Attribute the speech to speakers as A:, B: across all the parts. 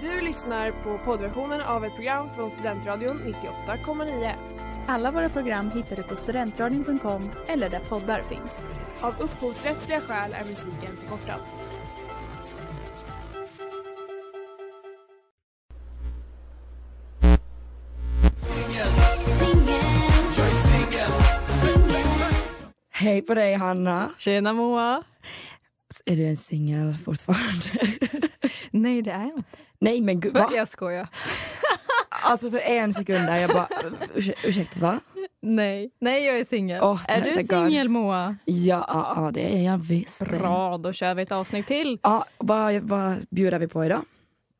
A: Du lyssnar på poddversionen av ett program från Studentradion 98,9.
B: Alla våra program hittar du på studentradion.com eller där poddar finns.
A: Av upphovsrättsliga skäl är musiken förkortad.
C: Hej på dig Hanna.
D: Tjena Moa!
C: S- Är du en singel fortfarande?
D: Nej det är jag inte.
C: Nej men gud va?
D: Jag skojar.
C: Alltså för en sekund där jag bara, "Ursä- ursäkta va?
D: Nej, Nej jag är singel.
C: Åh,
D: är
C: thank
D: du
C: God.
D: singel Moa?
C: Ja, ja, ja det är jag visst. det.
D: Bra, då kör vi ett avsnitt till.
C: Ja, vad, vad bjuder vi på idag?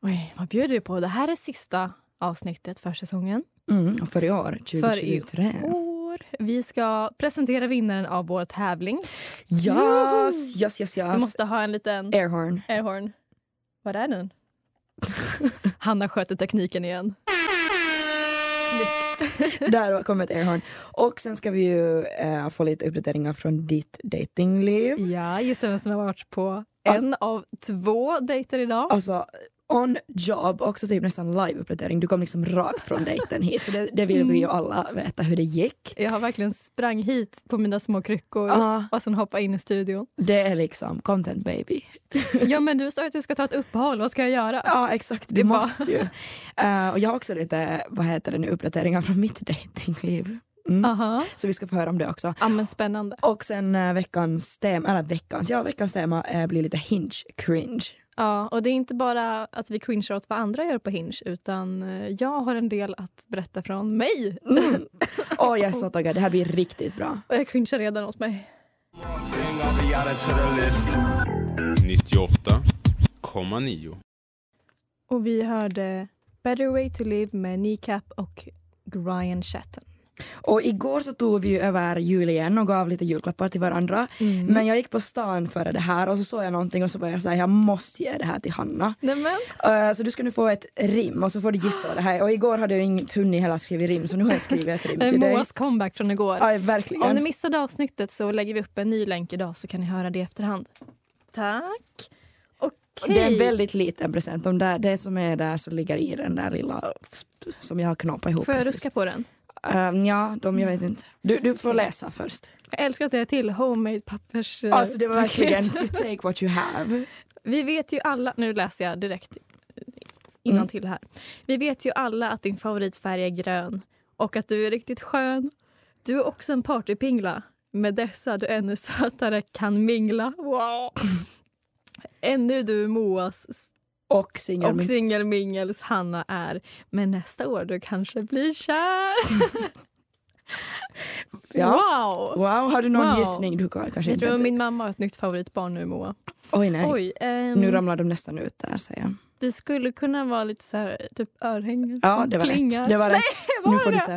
D: Oj, vad bjuder vi på? Det här är sista avsnittet för säsongen.
C: Mm, för i år,
D: För i Oh,
C: 2023.
D: år. Vi ska presentera vinnaren av vår tävling.
C: Yes, yes, yes,
D: Vi
C: yes.
D: måste ha en liten
C: Airhorn.
D: airhorn. Var är den? Hanna sköter tekniken igen.
C: Där kommer ett airhorn. Och sen ska vi ju eh, få lite uppdateringar från ditt datingliv.
D: Ja, gissa vem som har varit på
C: Alltså-
D: en av två dejter idag.
C: Alltså on job, också typ nästan live-uppdatering. Du kom liksom rakt från dejten hit. Så det, det vill vi ju alla veta hur det gick.
D: Jag har verkligen sprang hit på mina små kryckor
C: Ja.
D: och sen hoppa in i studion.
C: Det är liksom content baby.
D: Ja men du sa ju att du ska ta ett uppehåll, vad ska jag göra?
C: Ja exakt, du
D: är bara-
C: måste ju. Eh, och jag har också lite, vad heter det nu, uppdateringar från mitt datingliv. Mm.
D: Aha.
C: Så vi ska få höra om det också.
D: Ja men spännande.
C: Och sen eh, veckans tema, eller veckans, ja veckans tema eh, blir lite hinge cringe.
D: Ja, och det är inte bara att vi cringear åt vad andra gör på Hinge utan eh, jag har en del att berätta från mig.
C: Mm. Åh jag är så taggad, det här blir riktigt bra.
D: Och jag cringear redan åt mig.
E: 98,9.
D: Och vi hörde Better Way To Live med Kneecap och Ryan Chatton.
C: Och igår så tog vi ju över jul igen och gav lite julklappar till varandra.
D: Mm.
C: Men jag gick på stan före det här och så såg jag någonting och så var jag såhär, jag måste ge det här till Hanna.
D: Nämen!
C: Eh, Så du ska nu få ett rim och så får du gissa vad det här. är. Och igår hade jag inget hunnit heller skriva rim så nu har jag skrivit ett rim
D: Eh,
C: till dig.
D: Moas comeback från igår.
C: Ja,
D: Om ni
C: verkligen.
D: missade avsnittet så lägger vi upp en ny länk idag så kan ni höra det i efterhand. Tack! Okej.
C: Det är en väldigt liten present. De där, det som är där som ligger i den där lilla sp- som jag har knåpat ihop.
D: Får jag
C: precis.
D: ruska på den?
C: Ehm, ja, de, jag vet inte. Du, du får läsa först.
D: Jag älskar att det är till homemade pappers... eh,
C: Alltså det var
D: paket.
C: verkligen you take what you have.
D: Vi vet ju alla... Nu läser jag direkt innan
C: Mm.
D: till här. Vi vet ju alla att din favoritfärg är grön och att du är riktigt skön. Du är också en partypingla. Med dessa du ännu sötare kan mingla. Wow! Ännu du Moas
C: Och singel.
D: och singelmingels Hanna är. Men nästa år du kanske blir kär.
C: Ja.
D: Wow!
C: Wow, har du någon
D: Wow.
C: gissning? Du kan- kanske
D: Jag
C: inte.
D: tror min mamma har ett nytt favoritbarn nu Moa.
C: Oj nej,
D: Oj, ehm,
C: nu ramlar de nästan ut där säger jag.
D: det skulle kunna vara lite så här, typ örhängen
C: Ja
D: som
C: det var
D: plingar.
C: rätt. Det var rätt.
D: var
C: nu får du
D: det?
C: se.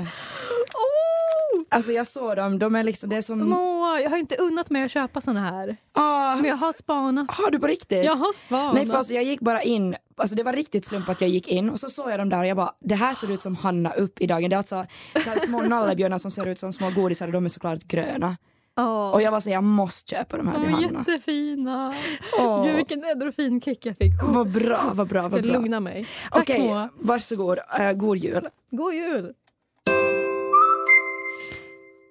D: Åh!
C: Alltså jag såg dem, de är liksom, det är som...
D: Moa, jag har inte unnat mig att köpa såna här.
C: Ah,
D: Men jag har spanat.
C: har du på riktigt?
D: Jag har spanat.
C: Nej för alltså, jag gick bara in, alltså det var riktigt slump att jag gick in och så såg jag dem där och jag bara det här ser ut som Hanna upp i dagen. Det är alltså så här små nallebjörnar som ser ut som små godisar och de är såklart gröna.
D: Åh,
C: Och jag var så jag måste köpa de här till
D: de är
C: Hanna.
D: jättefina.
C: Åh.
D: Gud, vilken endorfinkick jag fick.
C: Vad bra, vad bra,
D: Ska
C: vad bra.
D: lugna mig. Tack
C: Okej,
D: Moa.
C: varsågod, uh, god jul.
D: God jul!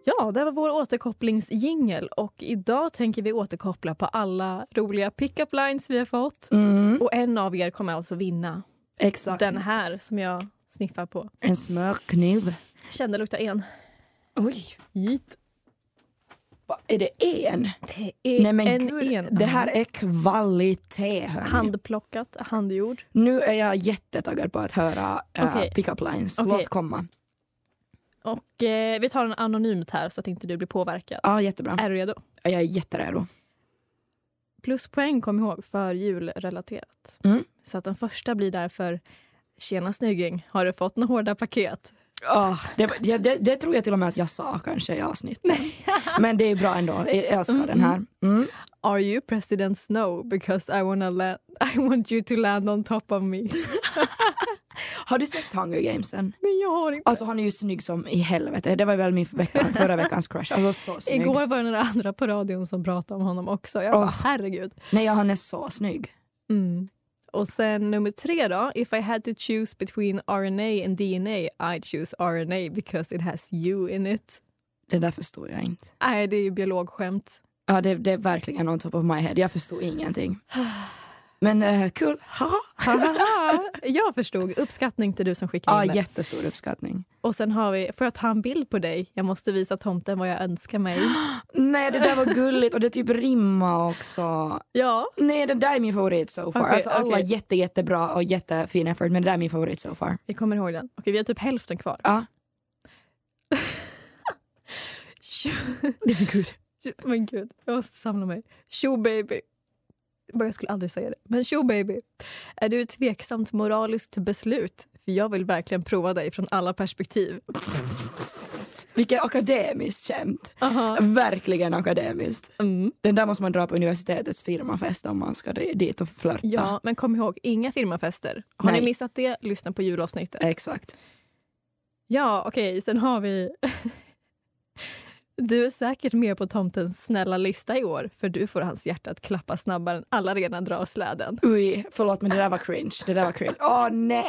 D: Ja, det var vår återkopplingsjingel och idag tänker vi återkoppla på alla roliga pick-up lines vi har fått.
C: Mm,
D: Och en av er kommer alltså vinna
C: exakt.
D: den här som jag sniffar på.
C: En smörkniv.
D: Kände lukta en.
C: Oj,
D: Git.
C: vad är det en?
D: Det är
C: Nej men
D: en
C: gud,
D: en.
C: det här är kvalitet hörni.
D: Handplockat, handgjord.
C: Nu är jag jättetaggad på att höra eh,
D: Okej.
C: pickup lines.
D: Okej.
C: Låt komma.
D: Och eh, vi tar den anonymt här så att inte du blir påverkad.
C: Ja, jättebra.
D: Är du redo?
C: Ja, Jag är jätteredo.
D: Pluspoäng kom ihåg för julrelaterat.
C: Mm.
D: Så att den första blir därför Tjena snygging, har du fått några hårda paket?
C: Oh, det, var- det, det, det tror jag till och med att jag sa kanske i avsnittet. Men det är bra ändå. Jag älskar den här. Mm.
D: Are you president snow because I, wanna la- I want you to land on top of me?
C: Har du sett Hunger Gamesen?
D: Men jag har inte.
C: Alltså han är ju snygg som i helvete. Det var väl min vecka, förra veckans crush. Alltså så snygg.
D: Igår var det några andra på radion som pratade om honom också. Jag bara,
C: Åh.
D: herregud.
C: Nej, ja, han är så snygg.
D: Mm. Och sen nummer tre då. If I had to choose between RNA and DNA I'd choose RNA because it has you in it.
C: Det där förstår jag inte.
D: Nej, det är ju biologskämt.
C: Ja, det, det är verkligen on top of my head. Jag förstår ingenting. Men eh, kul. Haha.
D: Hahaha. jag förstod. Uppskattning till du som skickade
C: Ja,
D: in det.
C: jättestor uppskattning.
D: Och sen har vi, får jag ta en bild på dig? Jag måste visa tomten vad jag önskar mig.
C: Nej, det där var gulligt och det typ rimma också.
D: Ja,
C: Nej, det där är min favorit so far.
D: Okej,
C: alltså, alla
D: okej.
C: jätte, jättebra och jättefin effort, men det där är min favorit so far.
D: vi kommer ihåg den. Okej, vi har typ hälften kvar.
C: Ja. Gud.
D: Men gud, jag måste samla mig. Tjo baby. Bara Jag skulle aldrig säga det. Men tjo baby. Är du tveksamt moraliskt beslut? För jag vill verkligen prova dig från alla perspektiv.
C: Vilket akademiskt skämt.
D: Aha.
C: Verkligen akademiskt.
D: Mm.
C: Den där måste man dra på universitetets firmafest om man ska di- dit och flörta.
D: Ja, men kom ihåg, inga firmafester. Har
C: Nej.
D: ni missat det, lyssna på julavsnittet.
C: Exakt.
D: Ja, okej, sen har vi... Du är säkert med på tomtens snälla lista i år för du får hans hjärta att klappa snabbare än alla redan drar släden.
C: Ui, förlåt men det där var cringe. Det där var cringe. Åh nej!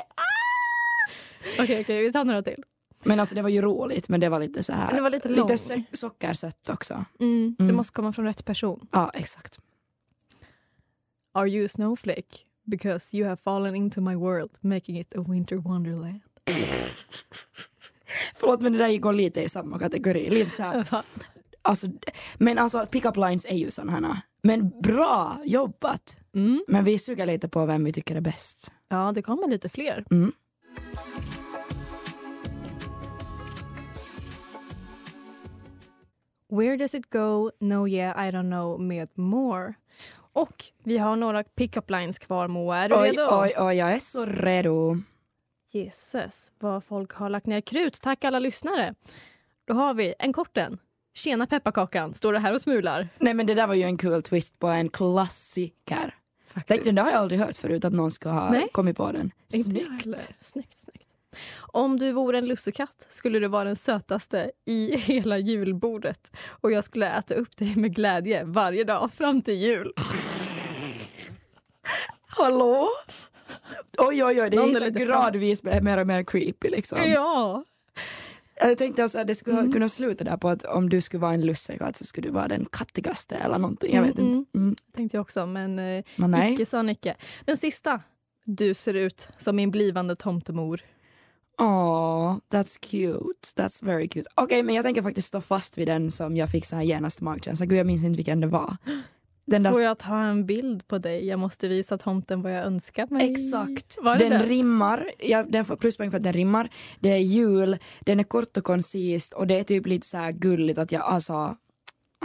D: Okej, okej, vi tar några till.
C: Men alltså det var ju roligt men det var lite så här.
D: Det var lite lång.
C: lite so- sockersött också.
D: Mm, Du
C: Mm.
D: måste komma från rätt person.
C: Ja, exakt.
D: Are you a snowflake? Because you have fallen into my world making it a winter wonderland.
C: Förlåt men det där går lite i samma kategori. Lite så här. Alltså, d- men alltså pick-up lines är ju sådana här. Men bra jobbat!
D: Mm.
C: Men vi suger lite på vem vi tycker är bäst.
D: Ja, det kommer lite fler.
C: Mm.
D: Where does it go? No yeah, I don't know med more. Och vi har några pick-up lines kvar, Moa. Är du
C: Oj,
D: redo?
C: oj, oj, jag är så redo.
D: Jesus, vad folk har lagt ner krut. Tack alla lyssnare. Då har vi en kort en. Tjena pepparkakan, står det här och smular.
C: Nej men det där var ju en kul twist på en klassiker. Tänk, den där har jag aldrig hört förut att någon ska ha
D: Nej.
C: kommit på den.
D: Inte jag heller.
C: Snyggt!
D: snyggt, snyggt. Om du vore en lussekatt skulle du vara den sötaste i hela julbordet och jag skulle äta upp dig med glädje varje dag fram till jul.
C: Hallå? Oj oj oj, det
D: Någon
C: är
D: är
C: så
D: lite
C: gradvis mer och mer creepy liksom.
D: Ja! Mm.
C: Jag tänkte alltså att det skulle kunna sluta där på att om du skulle vara en lussekatt så skulle du vara den kattigaste eller någonting. Jag
D: Mm,
C: vet inte. Mm.
D: Tänkte jag också, men eh,
C: Men nej.
D: icke sa Nicke. Den sista. Du ser ut som min blivande tomtemor.
C: Åh, that's cute. That's very cute. Okej, men jag tänker faktiskt stå fast vid den som jag fick så här genast magkänsla. Gud, jag minns inte vilken det var. Den där...
D: Får jag ta en bild på dig? Jag måste visa tomten vad jag önskar mig.
C: Exakt.
D: Var det
C: Den
D: den?
C: rimmar. Ja, den får pluspoäng för att den rimmar. Det är jul, den är kort och koncist och det är typ lite så här gulligt att jag alltså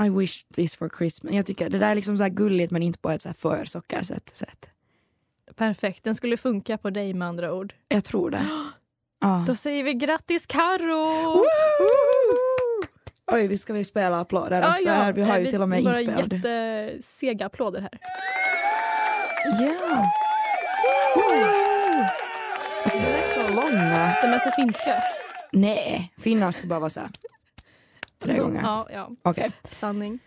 C: I wish this for Christmas. Jag tycker det där är liksom så här gulligt men inte på ett så här för sockersött sätt.
D: Perfekt, den skulle funka på dig med andra ord.
C: Jag tror det. Ja.
D: Då säger vi grattis Karo!
C: Oj, vi ska vi spela applåder också här. Vi har ju till och med
D: Eh, bara
C: inspelad.
D: jättesega applåder här.
C: Ja. Oh. Alltså de är så långa.
D: De är så finska.
C: Nej, finnar ska bara vara så här. Tre gånger.
D: Ja, ja.
C: Okej.
D: Sanning.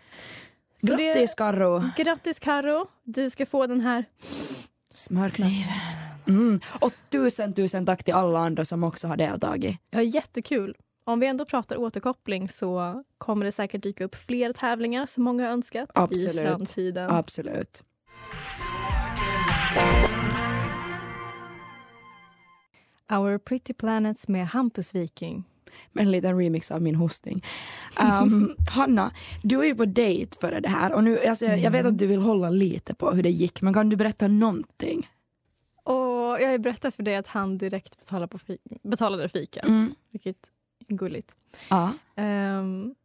D: Så
C: Grattis Carro.
D: Det, grattis Karo. Du ska få den här.
C: Smörkniven. Mm. Och tusen tusen tack till alla andra som också har deltagit.
D: Ja, jättekul. Om vi ändå pratar återkoppling så kommer det säkert dyka upp fler tävlingar som många har önskat i
C: Absolut.
D: framtiden.
C: Absolut.
D: Our Pretty Planets med Hampus Viking.
C: Med en liten remix av min hostning. Ehm, Hanna, du var ju på dejt före det här och nu, alltså, jag, jag vet att du vill hålla lite på hur det gick men kan du berätta någonting?
D: Och jag har ju berättat för dig att han direkt betalade, på fi- betalade fikat,
C: Mm.
D: vilket är gulligt.
C: Ja.
D: Ehm,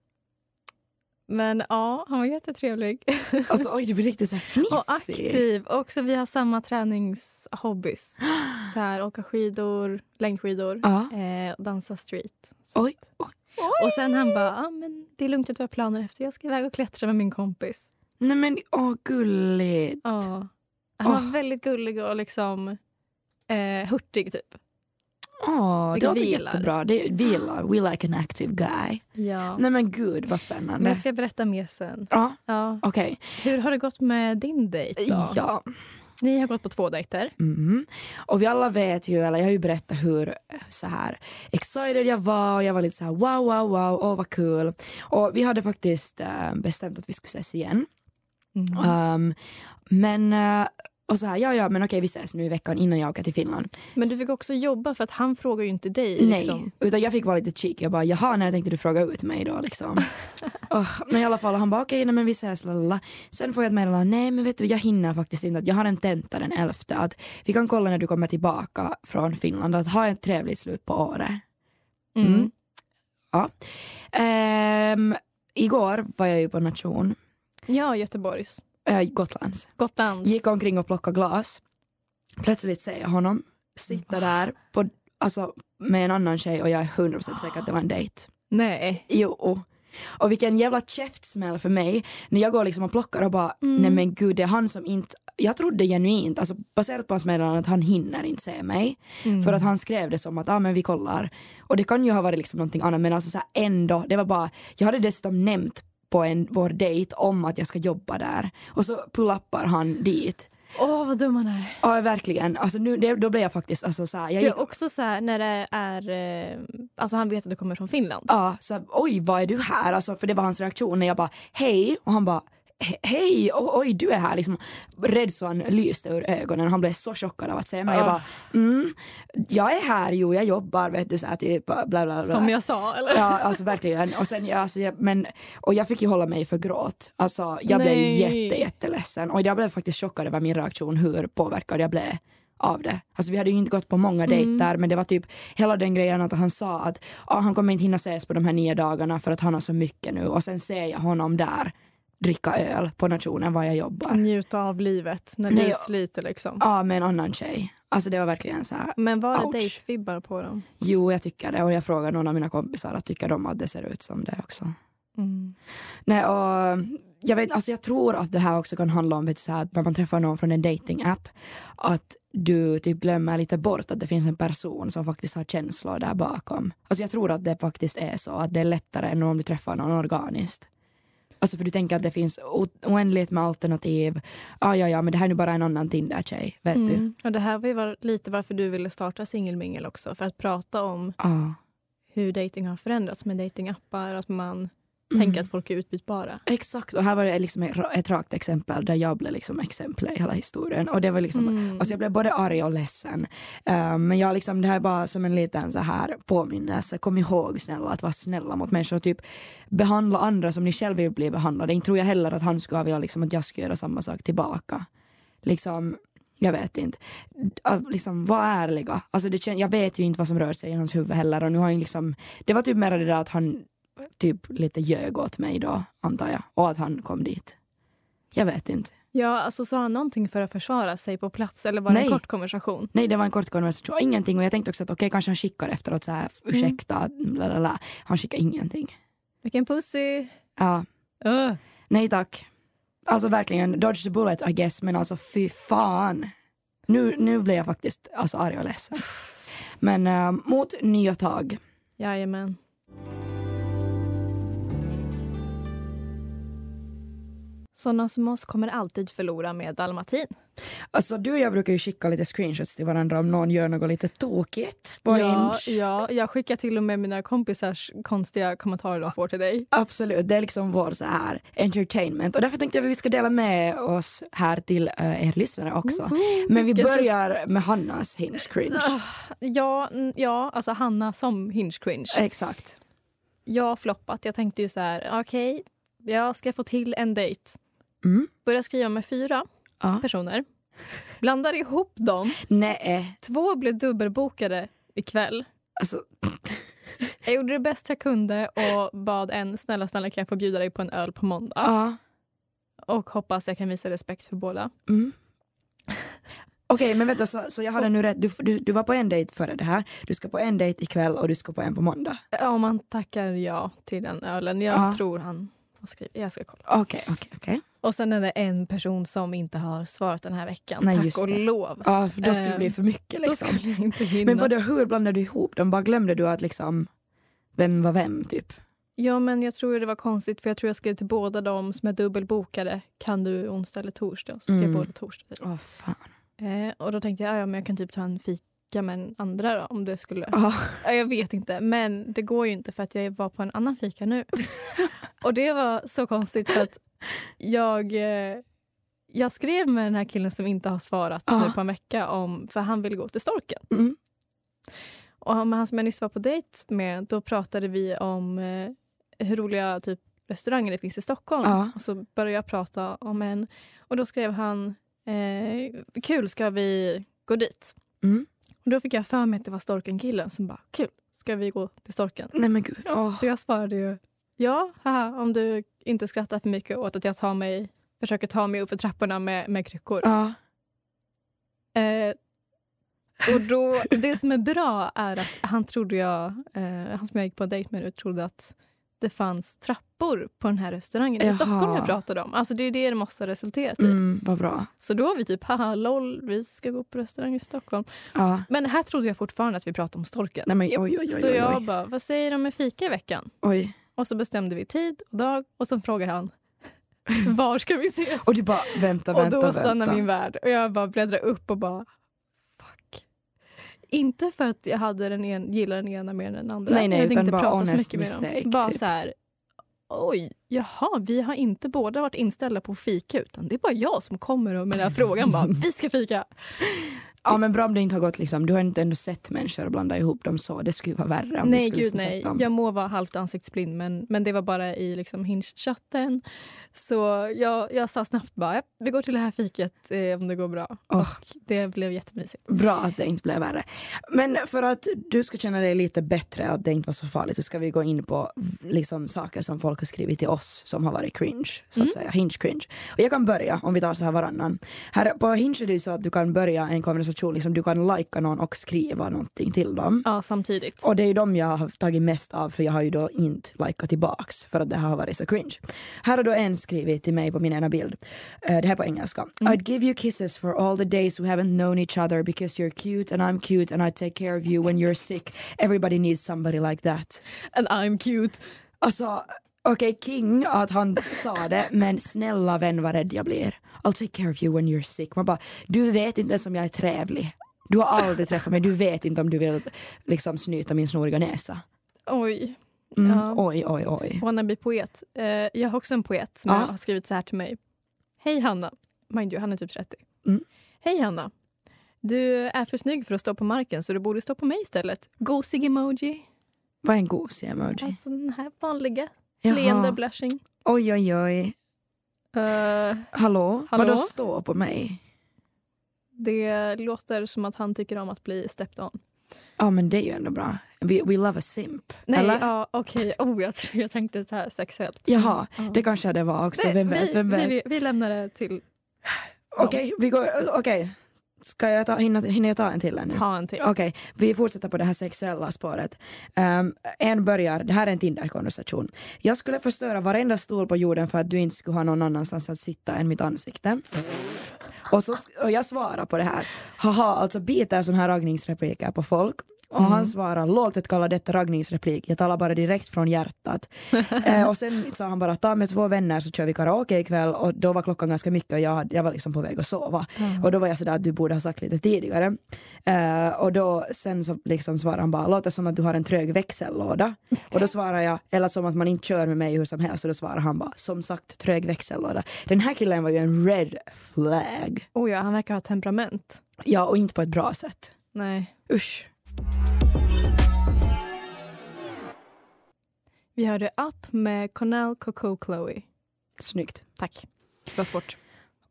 D: men ja, han var jättetrevlig
C: Alltså oj, du blir riktigt så här
D: och
C: fnissig.
D: aktiv. Och så vi har samma träningshobbys. Så här, åka skidor, längdskidor,
C: Ja.
D: eh, och dansa street. Så
C: Oj,
D: att-
C: oj.
D: Och sen han bara, ah, men det är lugnt att vi har planer efter. Jag ska iväg och klättra med min kompis.
C: Nej men åh gulligt.
D: Ja. Han var
C: Åh.
D: väldigt gullig och liksom eh, hurtig typ.
C: Åh, det
D: Vilket
C: låter
D: vi gillar.
C: jättebra. Det, vi gillar, we like an active guy.
D: Ja.
C: Nej men gud vad
D: Men
C: spännande.
D: jag ska berätta mer sen.
C: Ja,
D: Ja.
C: okej.
D: Hur har det gått med din dejt då?
C: Ja.
D: Ni har gått på två dejter.
C: Mm. Och vi alla vet ju, eller jag har ju berättat hur eh, så här excited jag var och jag var lite så här wow, wow, wow, åh vad kul. Och vi hade faktiskt eh, bestämt att vi skulle ses igen.
D: Mm.
C: Um, men, eh, och så här, ja, ja, men okej vi ses nu i veckan innan jag åker till Finland.
D: Men du fick också jobba för att han frågar ju inte dig.
C: Nej,
D: Liksom.
C: utan jag fick vara lite cheeky. Jag bara, jaha, när tänkte du fråga ut mig då liksom? oh, men i alla fall, han bara, okej, nej, men vi ses, lalala. Sen får jag ett meddelande, nej men vet du, jag hinner faktiskt inte. Att jag har en tenta den elfte. Att vi kan kolla när du kommer tillbaka från Finland. Att ha ett trevligt slut på året.
D: Mm.
C: Mm. Ja. Ehm, igår var jag ju på nation,
D: Ja, Göteborgs.
C: eh, Gotlands.
D: Gotlands.
C: Gick omkring och plockade glas. Plötsligt ser jag honom sitta där på, alltså, med en annan tjej och jag är 100% säker att det var en dejt.
D: Nej.
C: Jo. Och vilken jävla käftsmäll för mig när jag går liksom och plockar och bara nej men gud det är han som inte jag trodde genuint, alltså baserat på hans meddelande att han hinner inte se mig. För att han skrev det som att ah, men vi kollar. Och det kan ju ha varit liksom någonting annat men alltså så här ändå, det var bara, jag hade dessutom nämnt på en, vår dejt om att jag ska jobba där. Och så pull-upar han dit.
D: Åh, vad dum han är.
C: Ja verkligen, alltså nu, det, då blev jag faktiskt alltså så här, jag
D: Det
C: gick,
D: är också så här när det är... eh, Alltså han vet att du kommer från Finland.
C: ja, så här, oj vad är du här? Alltså, för det var hans reaktion när jag bara hej och han bara "He- hej, o- oj du är här liksom. Rädslan lyste ur ögonen, han blev så chockad av att se
D: Ah.
C: mig. Jag bara mm, jag är här, jo jag jobbar vet du så här typ bla bla bla.
D: Som jag sa, eller?
C: Ja, alltså verkligen. Och, sen, ja, alltså, jag, men, och jag fick ju hålla mig för gråt. Alltså, jag blev
D: Nej.
C: jätte, jätteledsen. Och jag blev faktiskt chockad över min reaktion, hur påverkad jag blev av det. Alltså vi hade ju inte gått på många dejter men det var typ hela den grejen att han sa att ah, han kommer inte hinna ses på de här nio dagarna för att han har så mycket nu och sen ser jag honom där dricka öl på nationen var jag jobbar.
D: Njuta av livet när
C: Nej,
D: du
C: jag-
D: sliter liksom.
C: Ja, med en annan tjej. Alltså det var verkligen så här.
D: Men var
C: Ouch.
D: det dejtvibbar på dem?
C: Jo, jag tycker det och jag frågade någon av mina kompisar att tycker de att det ser ut som det också. Mm. Nej, och jag, vet, alltså jag tror att det här också kan handla om vet du, så här, att när man träffar någon från en datingapp att du typ glömmer lite bort att det finns en person som faktiskt har känslor där bakom. Alltså jag tror att det faktiskt är så att det är lättare än om du träffar någon organiskt. Alltså för du tänker att det finns o- oändligt med alternativ. Ah, ja, ja, men det här är nu bara en annan Tinder-tjej, vet du.
D: Och Mm. det här var ju var- lite varför du ville starta singelmingel också. För att prata om
C: Ah.
D: hur dating har förändrats med datingappar. Att man
C: Mm.
D: tänker att folk är utbytbara.
C: Exakt, och här var det liksom ett ra- ett rakt exempel där jag blev liksom exempel i hela historien. Och det var liksom, alltså jag blev både arg och ledsen. Eh, men jag liksom, det här är bara som en liten så här påminnelse. Kom ihåg snälla att vara snälla mot människor och typ behandla andra som ni själv vill bli behandlade. Inte tror jag heller att han skulle ha velat liksom, att jag skulle göra samma sak tillbaka. Liksom, jag vet inte. Att liksom, var ärliga. Alltså det, kän- jag vet ju inte vad som rör sig i hans huvud heller och nu har han liksom, det var typ mer det där att han typ lite ljög åt mig då, antar jag. Och att han kom dit. Jag vet inte.
D: Ja, alltså sa han någonting för att försvara sig på plats eller var det
C: Nej.
D: en kort konversation?
C: Nej, det var en kort konversation. Ingenting. Och jag tänkte också att okej, kanske han skickar efteråt så här, ursäkta, bla, bla, bla. Han skickar ingenting.
D: Vilken pussy!
C: Ja, nej tack. Alltså verkligen, dodge the bullet I guess, men alltså fy fan. Nu, nu blev jag faktiskt alltså, arg och ledsen. Men eh, mot nya tag.
D: Jajamän. Sådana som oss kommer alltid förlora med dalmatin.
C: Alltså du och jag brukar ju skicka lite screenshots till varandra om någon gör något lite tokigt på
D: ja,
C: Inch.
D: ja, jag skickar till och med mina kompisars konstiga kommentarer de får till dig.
C: Absolut, det är liksom vår så här entertainment och därför tänkte jag att vi ska dela med oss här till eh, er lyssnare också. Men vi
D: vilken
C: börjar med Hannas hinge cringe.
D: Ja, mm, ja alltså Hanna som hinge cringe.
C: Exakt.
D: Jag har floppat. Jag tänkte ju så här, okej, jag ska få till en dejt.
C: Mm.
D: Börjar skriva med fyra
C: Ja.
D: personer. Blandar ihop dem.
C: Nej, eh,
D: Två blev dubbelbokade ikväll.
C: alltså
D: Jag gjorde det bästa jag kunde och bad en snälla snälla kan jag få bjuda dig på en öl på måndag
C: ja.
D: och hoppas jag kan visa respekt för båda.
C: Mm. Okej men vänta så, så jag hade nu rätt, du, du, du var på en dejt före det här, du ska på en dejt ikväll och du ska på en på måndag.
D: Om man tackar ja till den ölen. Jag
C: Ja.
D: tror han har skrivit. Jag ska kolla.
C: Okej okej okej.
D: Och sen är det en person som inte har svarat den här veckan.
C: Nej, just
D: Tack och
C: det.
D: lov.
C: Ja för då skulle det
D: Ehm,
C: bli för mycket
D: Då
C: liksom.
D: skulle jag inte hinna.
C: Men vadå hur blandade du ihop dem? Bara glömde du att liksom vem var vem typ?
D: Ja, men jag tror det var konstigt för jag tror jag skrev till båda dem som är dubbelbokade. Kan du onsdag eller torsdag? Så skrev
C: Mm.
D: jag båda torsdag. Typ.
C: Åh fan.
D: Eh, och då tänkte jag, "Ja, ja, men jag kan typ ta en fika med den andra då, om det skulle...
C: Ja.
D: Ja, jag vet inte, men det går ju inte för att jag var på en annan fika nu. och det var så konstigt för att jag, eh, jag skrev med den här killen som inte har svarat
C: Ja.
D: nu på en vecka om, för han ville gå till storken.
C: Mm.
D: Och han, han som jag nyss var på dejt med, då pratade vi om eh, hur roliga typ, restauranger det finns i Stockholm.
C: Ja.
D: Och så började jag prata om en. Och då skrev han, eh, kul ska vi gå dit?
C: Mm.
D: Och då fick jag för mig att det var Storken-killen som bara, kul ska vi gå till Storken?
C: Nej men gud. Åh.
D: Så jag svarade ju, ja, haha, om du inte skrattar för mycket åt att jag tar mig, försöker ta mig upp för trapporna med, med kryckor.
C: Ja.
D: Eh, och då, det som är bra är att han trodde jag, eh, han som jag gick på en dejt med nu trodde att det fanns trappor på den här restaurangen
C: Jaha.
D: i Stockholm jag pratade om. Alltså det är det det måste ha resulterat i.
C: Mm, vad bra.
D: Så då var vi typ, haha lol, vi ska gå på restaurang i Stockholm.
C: Ja.
D: Men här trodde jag fortfarande att vi pratade om storken.
C: Nej men oj oj oj.
D: så
C: oj,
D: jag
C: oj.
D: bara, vad säger de med fika i veckan?
C: oj.
D: Och så bestämde vi tid och dag och sen frågar han, var ska vi ses?
C: Och du bara vänta
D: Och
C: vänta
D: då stannar
C: vänta.
D: min värld och jag bara bläddrar upp och bara fuck. Inte för att jag hade den en, gillade den ena mer än den andra.
C: Nej, nej,
D: jag
C: utan bara honest
D: med dem.
C: mistake,
D: Bara
C: typ.
D: så här, oj, jaha, vi har inte båda varit inställda på fika utan det är bara jag som kommer och med den här frågan bara, vi ska fika.
C: Ja men bra om det inte har gått liksom, du har inte ändå sett människor och blanda ihop dem så, det skulle ju vara värre om du
D: nej,
C: skulle
D: gud
C: liksom
D: nej.
C: sett dem.
D: Jag må vara halvt ansiktsblind men, men det var bara i liksom Hinge-chatten. Så jag, jag sa snabbt bara, "Ja, vi går till det här fiket eh, om det går bra.
C: Åh.
D: Och det blev jättemysigt.
C: Bra att det inte blev värre. Men för att du ska känna dig lite bättre att det inte var så farligt så ska vi gå in på v- liksom, saker som folk har skrivit till oss som har varit cringe, så att
D: Mm.
C: säga. Hinge cringe. Och jag kan börja om vi tar så här varannan. Här, på Hinge är det ju så att du kan börja en konversation, liksom, du kan lajka någon och skriva någonting till dem.
D: Ja, samtidigt.
C: Och det är ju de jag har tagit mest av för jag har ju då inte likat tillbaks för att det har varit så cringe. Här har då en skrivit till mig på min ena bild. Eh, det här på engelska.
D: Mm.
C: I'd give you kisses for all the days we haven't known each other because you're cute and I'm cute and I take care of you when you're sick. Everybody needs somebody like that.
D: And I'm cute.
C: Alltså, okej king att han sa det men snälla vän vad rädd jag blir. I'll take care of you when you're sick. Man bara, du vet inte ens om jag är trevlig. Du har aldrig träffat mig, du vet inte om du vill liksom snyta min snoriga näsa.
D: Oj.
C: Mm,
D: Ja.
C: Oj, oj, oj.
D: Wannabe poet. Eh, jag har också en poet som
C: Ja.
D: jag har skrivit så här till mig. Hej Hanna. Mind you, han är typ 30.
C: Mm.
D: Hej Hanna. Du är för snygg för att stå på marken så du borde stå på mig istället. Gosig emoji.
C: Vad är en gosig emoji?
D: Alltså den här vanliga.
C: Jaha.
D: Leende blushing.
C: Oj, oj, oj.
D: Eh,
C: Hallå?
D: Hallå?
C: Vadå stå på mig?
D: det låter som att han tycker om att bli stepped on.
C: Ja, men det är ju ändå bra. We, we love a simp.
D: Nej,
C: eller?
D: ja, okej. Oh, jag, tror- jag tänkte det här sexuellt.
C: Jaha,
D: Ja.
C: det kanske det var också.
D: Nej,
C: vem vet, vem
D: vi,
C: vet.
D: vi, vi lämnar det till...
C: Okej, vi går, okej. Ska jag ta, hinna, hinner jag ta en till ännu?
D: Ha en till.
C: Okej, vi fortsätter på det här sexuella spåret. Ehm, en börjar, det här är en Tinder-konversation. Jag skulle förstöra varenda stol på jorden för att du inte skulle ha någon annanstans att sitta än mitt ansikte. Och, så, sk- och jag svarar på det här. Haha, alltså biter sådana här raggningsrepliker på folk. Och han svarar lågt att kalla detta raggningsreplik, jag talar bara direkt från hjärtat. eh, och sen sa han bara ta med två vänner så kör vi karaoke ikväll och då var klockan ganska mycket och jag, hade- jag var liksom på väg att sova. Och då var jag sådär att du borde ha sagt lite tidigare. Eh, och då sen så liksom svarade han bara låter som att du har en trög växellåda. Och då svarar jag eller som att man inte kör med mig hur som helst och då svarar han bara som sagt trög växellåda. Den här killen var ju en red flag.
D: Oh, ja, han verkar ha temperament.
C: Ja, och inte på ett bra sätt.
D: Nej.
C: Usch.
D: Vi hörde Up med Connell Coco Chloe.
C: Snyggt.
D: Tack. Det var svårt.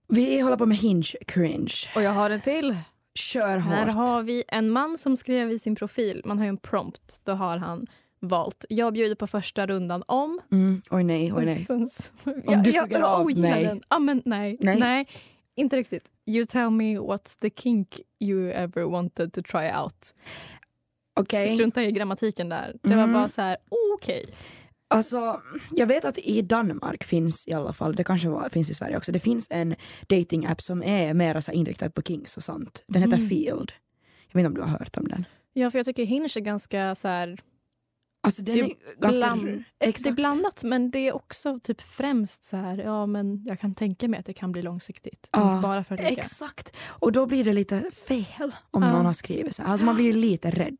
C: Vi håller på med hinge cringe.
D: Och jag har en till.
C: Kör
D: Här
C: hårt.
D: har vi en man som skrev i sin profil, man har ju en prompt, då har han valt jag bjuder på första rundan om...
C: Mm. Oj nej, oj
D: Och
C: nej.
D: sen så-
C: du suger
D: jag
C: av
D: ogillar
C: mig.
D: Den. Ja, men nej,
C: Nej.
D: nej. inte riktigt. You tell me what's the kink you ever wanted to try out.
C: Okej.
D: Strunta i grammatiken där. Det
C: Mm.
D: var bara så här, okej.
C: Alltså, jag vet att i Danmark finns i alla fall, det kanske var, finns i Sverige också, det finns en dating-app som är mer så här inriktad på kinks och sånt. Den
D: Mm.
C: heter Field. Jag vet inte om du har hört om den.
D: Ja, för jag tycker Hinge är ganska så här...
C: Alltså den
D: Det
C: är,
D: är
C: ganska...
D: bland- Det är
C: Exakt.
D: blandat, men det är också typ främst så här, ja men jag kan tänka mig att det kan bli långsiktigt.
C: Ja,
D: Inte bara för att leka.
C: Exakt. Och då blir det lite fel om
D: Ja.
C: någon har skrivit så här. Alltså man blir lite rädd.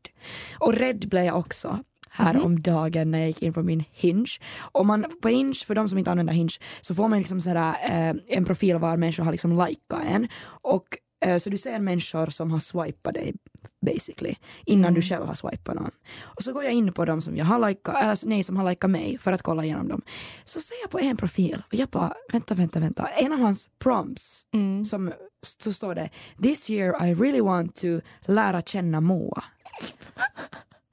C: Och rädd blev jag också här
D: Mhm.
C: om dagen när jag gick in på min Hinge. Och man, på Hinge, för de som inte använder Hinge, så får man liksom så här, eh, en profil var människor har liksom likat en. Och, eh, så du ser människor som har swipat dig basically innan
D: Mm.
C: du själv har swipat någon. Och så går jag in på dem som jag har likat, eller alltså, nej som har likat mig för att kolla igenom dem. Så ser jag på en profil och jag bara vänta, vänta, vänta. En av hans prompts
D: Mm.
C: som så står det This year I really want to lära känna Moa.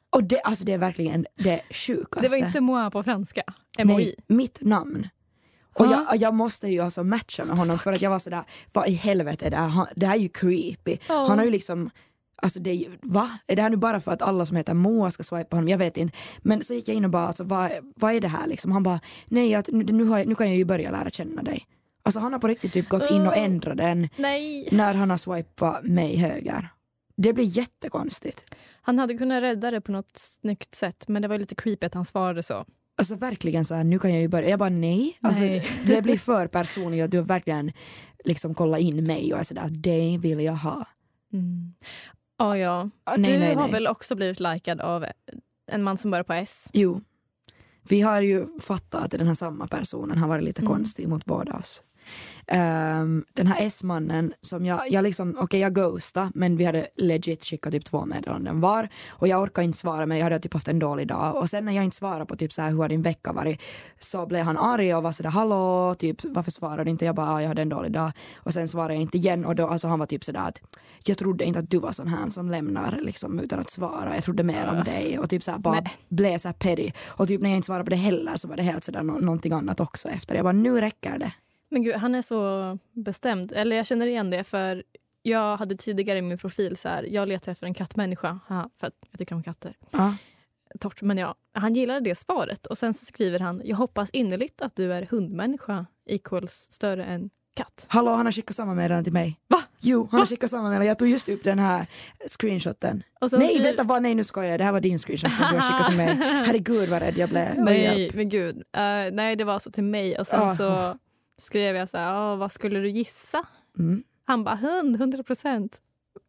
C: Och det, alltså det är verkligen det sjukaste.
D: Det var inte moi på franska. MOI.
C: Nej, mitt namn. Och
D: Ha?
C: jag, jag måste ju alltså matcha med honom för att jag var sådär, vad i helvete är det här? Han- Det här är ju creepy.
D: Ja.
C: Han har ju liksom, alltså det är ju, va? Är det här nu bara för att alla som heter Moa ska swipa honom? Jag vet inte. Men så gick jag in och bara, alltså, vad, vad är det här liksom? Han bara, nej att, nu, nu, har jag, nu kan jag ju börja lära känna dig. Alltså han har på riktigt typ gått in och
D: Mm.
C: ändrat den
D: Nej.
C: när han har swipat mig höger. Det blir jättekonstigt.
D: Han hade kunnat rädda det på något snyggt sätt, men det var ju lite creepy att han svarade så.
C: Alltså verkligen så här, nu kan jag ju börja. Jag bara nej. Alltså,
D: Nej.
C: det blir för personligt och du har verkligen liksom kollat in mig och är sådär, det vill jag ha.
D: Mm. Ja, ja.
C: Ah, nej,
D: du
C: nej,
D: har
C: nej.
D: väl också blivit likad av en man som börjar på S?
C: Jo. Vi har ju fattat att den här samma personen har varit lite
D: Mm.
C: konstig mot båda oss. Ehm, den här S-mannen som jag, jag liksom, okej jag ghostade men vi hade legit skickat typ två meddelanden var och jag orkade inte svara men jag hade typ haft en dålig dag och sen när jag inte svarade på typ så här hur har din vecka varit så blev han arg och var sådär hallå typ varför svarar du inte jag bara "Ah, jag hade en dålig dag och sen svarade jag inte igen och då alltså han var typ sådär att jag trodde inte att du var sån här som lämnar liksom utan att svara jag trodde mer om dig och typ såhär bara
D: Nej.
C: blev såhär petty och typ när jag inte svarade på det heller så var det helt sådär nå- någonting annat också efter jag bara nu räcker det
D: Men gud, han är så bestämd. Eller jag känner igen det för jag hade tidigare i min profil så här, jag letar efter en kattmänniska Haha, för att jag tycker om katter.
C: Ja.
D: Torrt, men ja. Han gillade det svaret och sen så skriver han, jag hoppas innerligt att du är hundmänniska equals större än katt.
C: Hallå, han har skickat samma meddelande till mig.
D: Va?
C: Jo, han har skickat samma meddelande. Jag tog just upp den här screenshoten.
D: Och sen
C: Nej,
D: skriver-
C: vänta, vad, nej nu skojar jag. Det här var din screenshot som du har skickat till mig. Herregud vad rädd jag blev. Oj,
D: Nej,
C: hjälp.
D: men gud. Eh, nej, det var så till mig och sen
C: Ah.
D: så skrev jag så här, "Ah, vad skulle du gissa?
C: Mm.
D: Han bara, hund, 100 procent.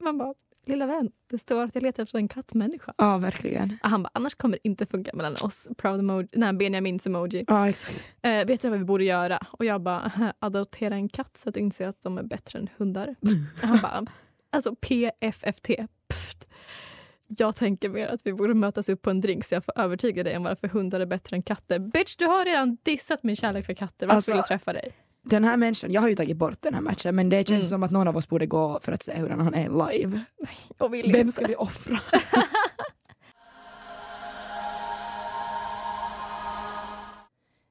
D: Man bara, lilla vän, det står att jag letar efter en kattmänniska.
C: Ja, verkligen.
D: Och Han bara, annars kommer det inte funka mellan oss. Proud emoji, nej, Benjamins emoji.
C: Ja, exakt.
D: Eh, vet du vad vi borde göra? Och jag bara, adoptera en katt så att du inser att de är bättre än hundar. Och Han bara, alltså PFFT. Pft. Jag tänker mer att vi borde mötas upp på en drink så jag får övertyga dig om varför hundar är bättre än katter. Bitch, du har redan dissat min kärlek för katter. Varför
C: Alltså-
D: vill jag träffa dig?
C: Den här människan, jag har ju tagit bort den här matchen men det känns
D: Mm.
C: som att någon av oss borde gå för att se hur han är live.
D: Och vill
C: Vem ska vi offra?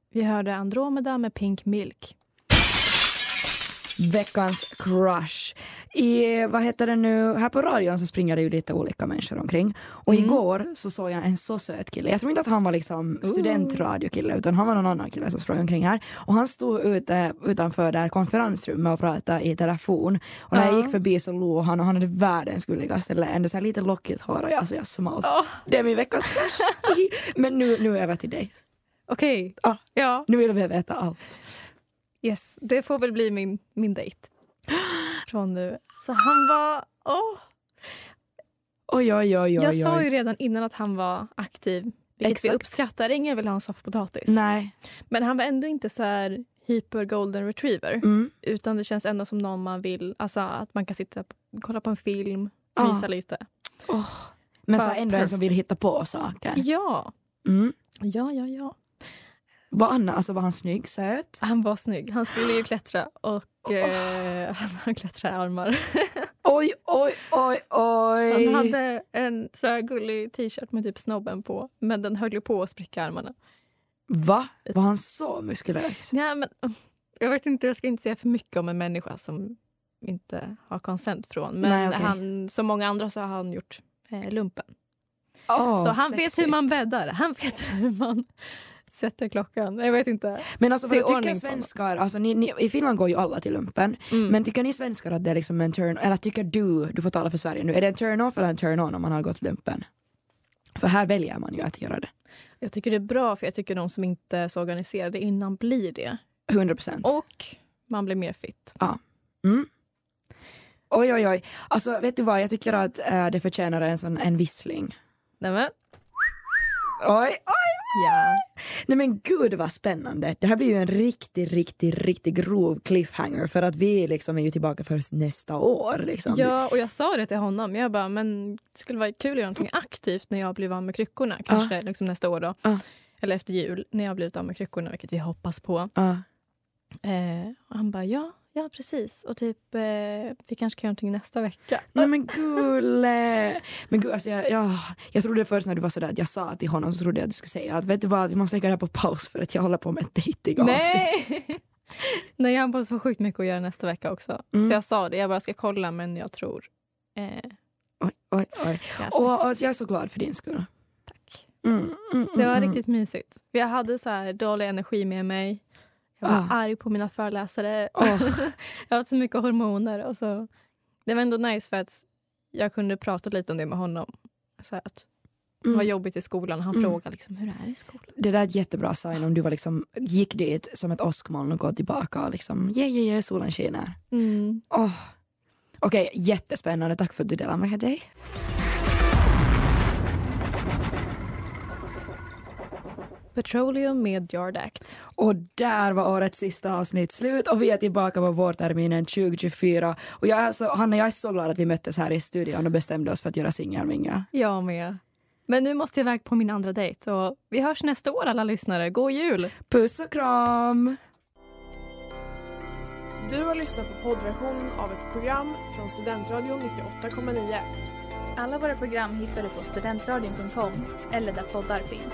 D: Vi hörde Andromeda med Pink Milk.
C: Veckans crush. I, vad heter det nu, här på radion så springer det ju lite olika människor omkring. Och
D: Mm.
C: igår så såg jag en så söt kille. Jag tror inte att han var liksom studentradiokille utan han var någon annan kille som sprang omkring här. Och han stod ute utanför där konferensrummet och pratade i telefon. Och när jag gick förbi så låg han och han hade världens gulligaste leende. Så här lite lockigt hår och jag, alltså jag smalt. Det är min veckans crush. Men nu, nu över till dig.
D: Okej.
C: Ah.
D: Ja.
C: Nu vill vi veta allt.
D: Yes, det får väl bli min, min dejt. Från nu. Så han var... Ah, Åh!
C: Oj, oj, oj, oj.
D: jag
C: oj.
D: sa ju redan innan att han var aktiv, vilket
C: Exakt.
D: vi uppskattar. Ingen vill ha en soffpotatis.
C: Nej.
D: Men han var ändå inte så här hyper golden retriever.
C: Mm.
D: Utan det känns ändå som någon man vill, alltså att man kan sitta kolla på en film,
C: Ja.
D: mysa lite.
C: Men
D: Bara
C: så ändå en som vill hitta på saker.
D: Ja,
C: Mm.
D: ja, ja, ja.
C: Var Anna, alltså var han snygg, söt?
D: Han var snygg. Han skulle ju klättra och eh, han har klättrararmar.
C: Oj, oj, oj, oj.
D: Han hade en så här gullig t-shirt med typ snobben på, men den höll ju på att spricka i armarna.
C: Va? Var han så muskulös?
D: Nej, men, uh, jag vet inte, jag ska inte säga för mycket om en människa som inte har konsent från. Men
C: Nej, okej.
D: han, som många andra så har han gjort eh, lumpen.
C: Åh,
D: så han vet hur man
C: sexigt.
D: bäddar, han vet hur man sätter klockan. Jag vet inte.
C: Men alltså
D: Det är
C: vad tycker
D: ordning på honom.
C: svenskar, alltså ni, ni, i Finland går ju alla till lumpen,
D: Mm.
C: men tycker ni svenskar att det är liksom en turn, eller tycker du, du får tala för Sverige nu, är det en turn off eller en turn on om man har gått lumpen? För här väljer man ju att göra det.
D: Jag tycker det är bra för jag tycker de som inte är så organiserade innan blir det.
C: 100 procent.
D: Och man blir mer fit.
C: Mm. Oj, oj, oj. Alltså, vet du vad? Jag tycker att eh, det förtjänar en, sån, en vissling.
D: Nämen.
C: Oj, oj!
D: Ja.
C: Nej men gud vad spännande. Det här blir ju en riktig, riktig, riktig grov cliffhanger för att vi liksom är ju tillbaka först nästa år. Liksom.
D: ja, och jag sa det till honom. Jag bara, men det skulle vara kul att göra någonting aktivt när jag blir av med kryckorna. Kanske liksom nästa år då.
C: Ja.
D: Eller efter jul, när jag blivit av med kryckorna, vilket vi hoppas på.
C: Ja.
D: Eh, och han bara, ja, ja precis. Och typ, eh, vi kanske kan göra någonting nästa vecka.
C: Nej men gulle! Men gud, alltså jag, jag, jag trodde först när du var sådär att jag sa till honom så trodde jag att du skulle säga att vet du vad, vi måste lägga det här på paus för att jag håller på med ett dejtingavsnitt.
D: Nej! Nej, jag har bara så sjukt mycket att göra nästa vecka också.
C: Mm.
D: Så jag sa det, jag bara ska kolla men jag tror... Eh,
C: Oj, oj, oj.
D: kanske.
C: Och, och jag är så glad för din skull.
D: Tack.
C: Mm, mm, mm,
D: Det var
C: mm.
D: riktigt mysigt. Jag hade så här dålig energi med mig. Jag var
C: Ah.
D: arg på mina föreläsare.
C: Åh.
D: jag har så mycket hormoner. Och så. Det var ändå nice för att jag kunde prata lite om det med honom. Så här att det var
C: Mm.
D: jobbigt i skolan. Han
C: Mm.
D: frågade liksom, hur det är i skolan.
C: Det där är ett jättebra sign om du var liksom, gick dit som ett åskmoln och går tillbaka och liksom yeah, yeah, yeah, solen skiner.
D: Mm.
C: Åh. Okej, jättespännande. Tack för att du delade med dig.
D: Petroleum med Yard Act.
C: Och där var årets sista avsnitt slut och vi är tillbaka på vårterminen 2024. Och jag är så, Hanna, jag är så glad att vi möttes här i studion och bestämde oss för att göra singelmingel.
D: Jag med. Men nu måste jag iväg på min andra dejt. Och vi hörs nästa år alla lyssnare. God jul!
C: Puss och kram!
A: Du har lyssnat på poddversionen av ett program från Studentradion 98,9.
B: Alla våra program hittar du på studentradion.com eller där poddar finns.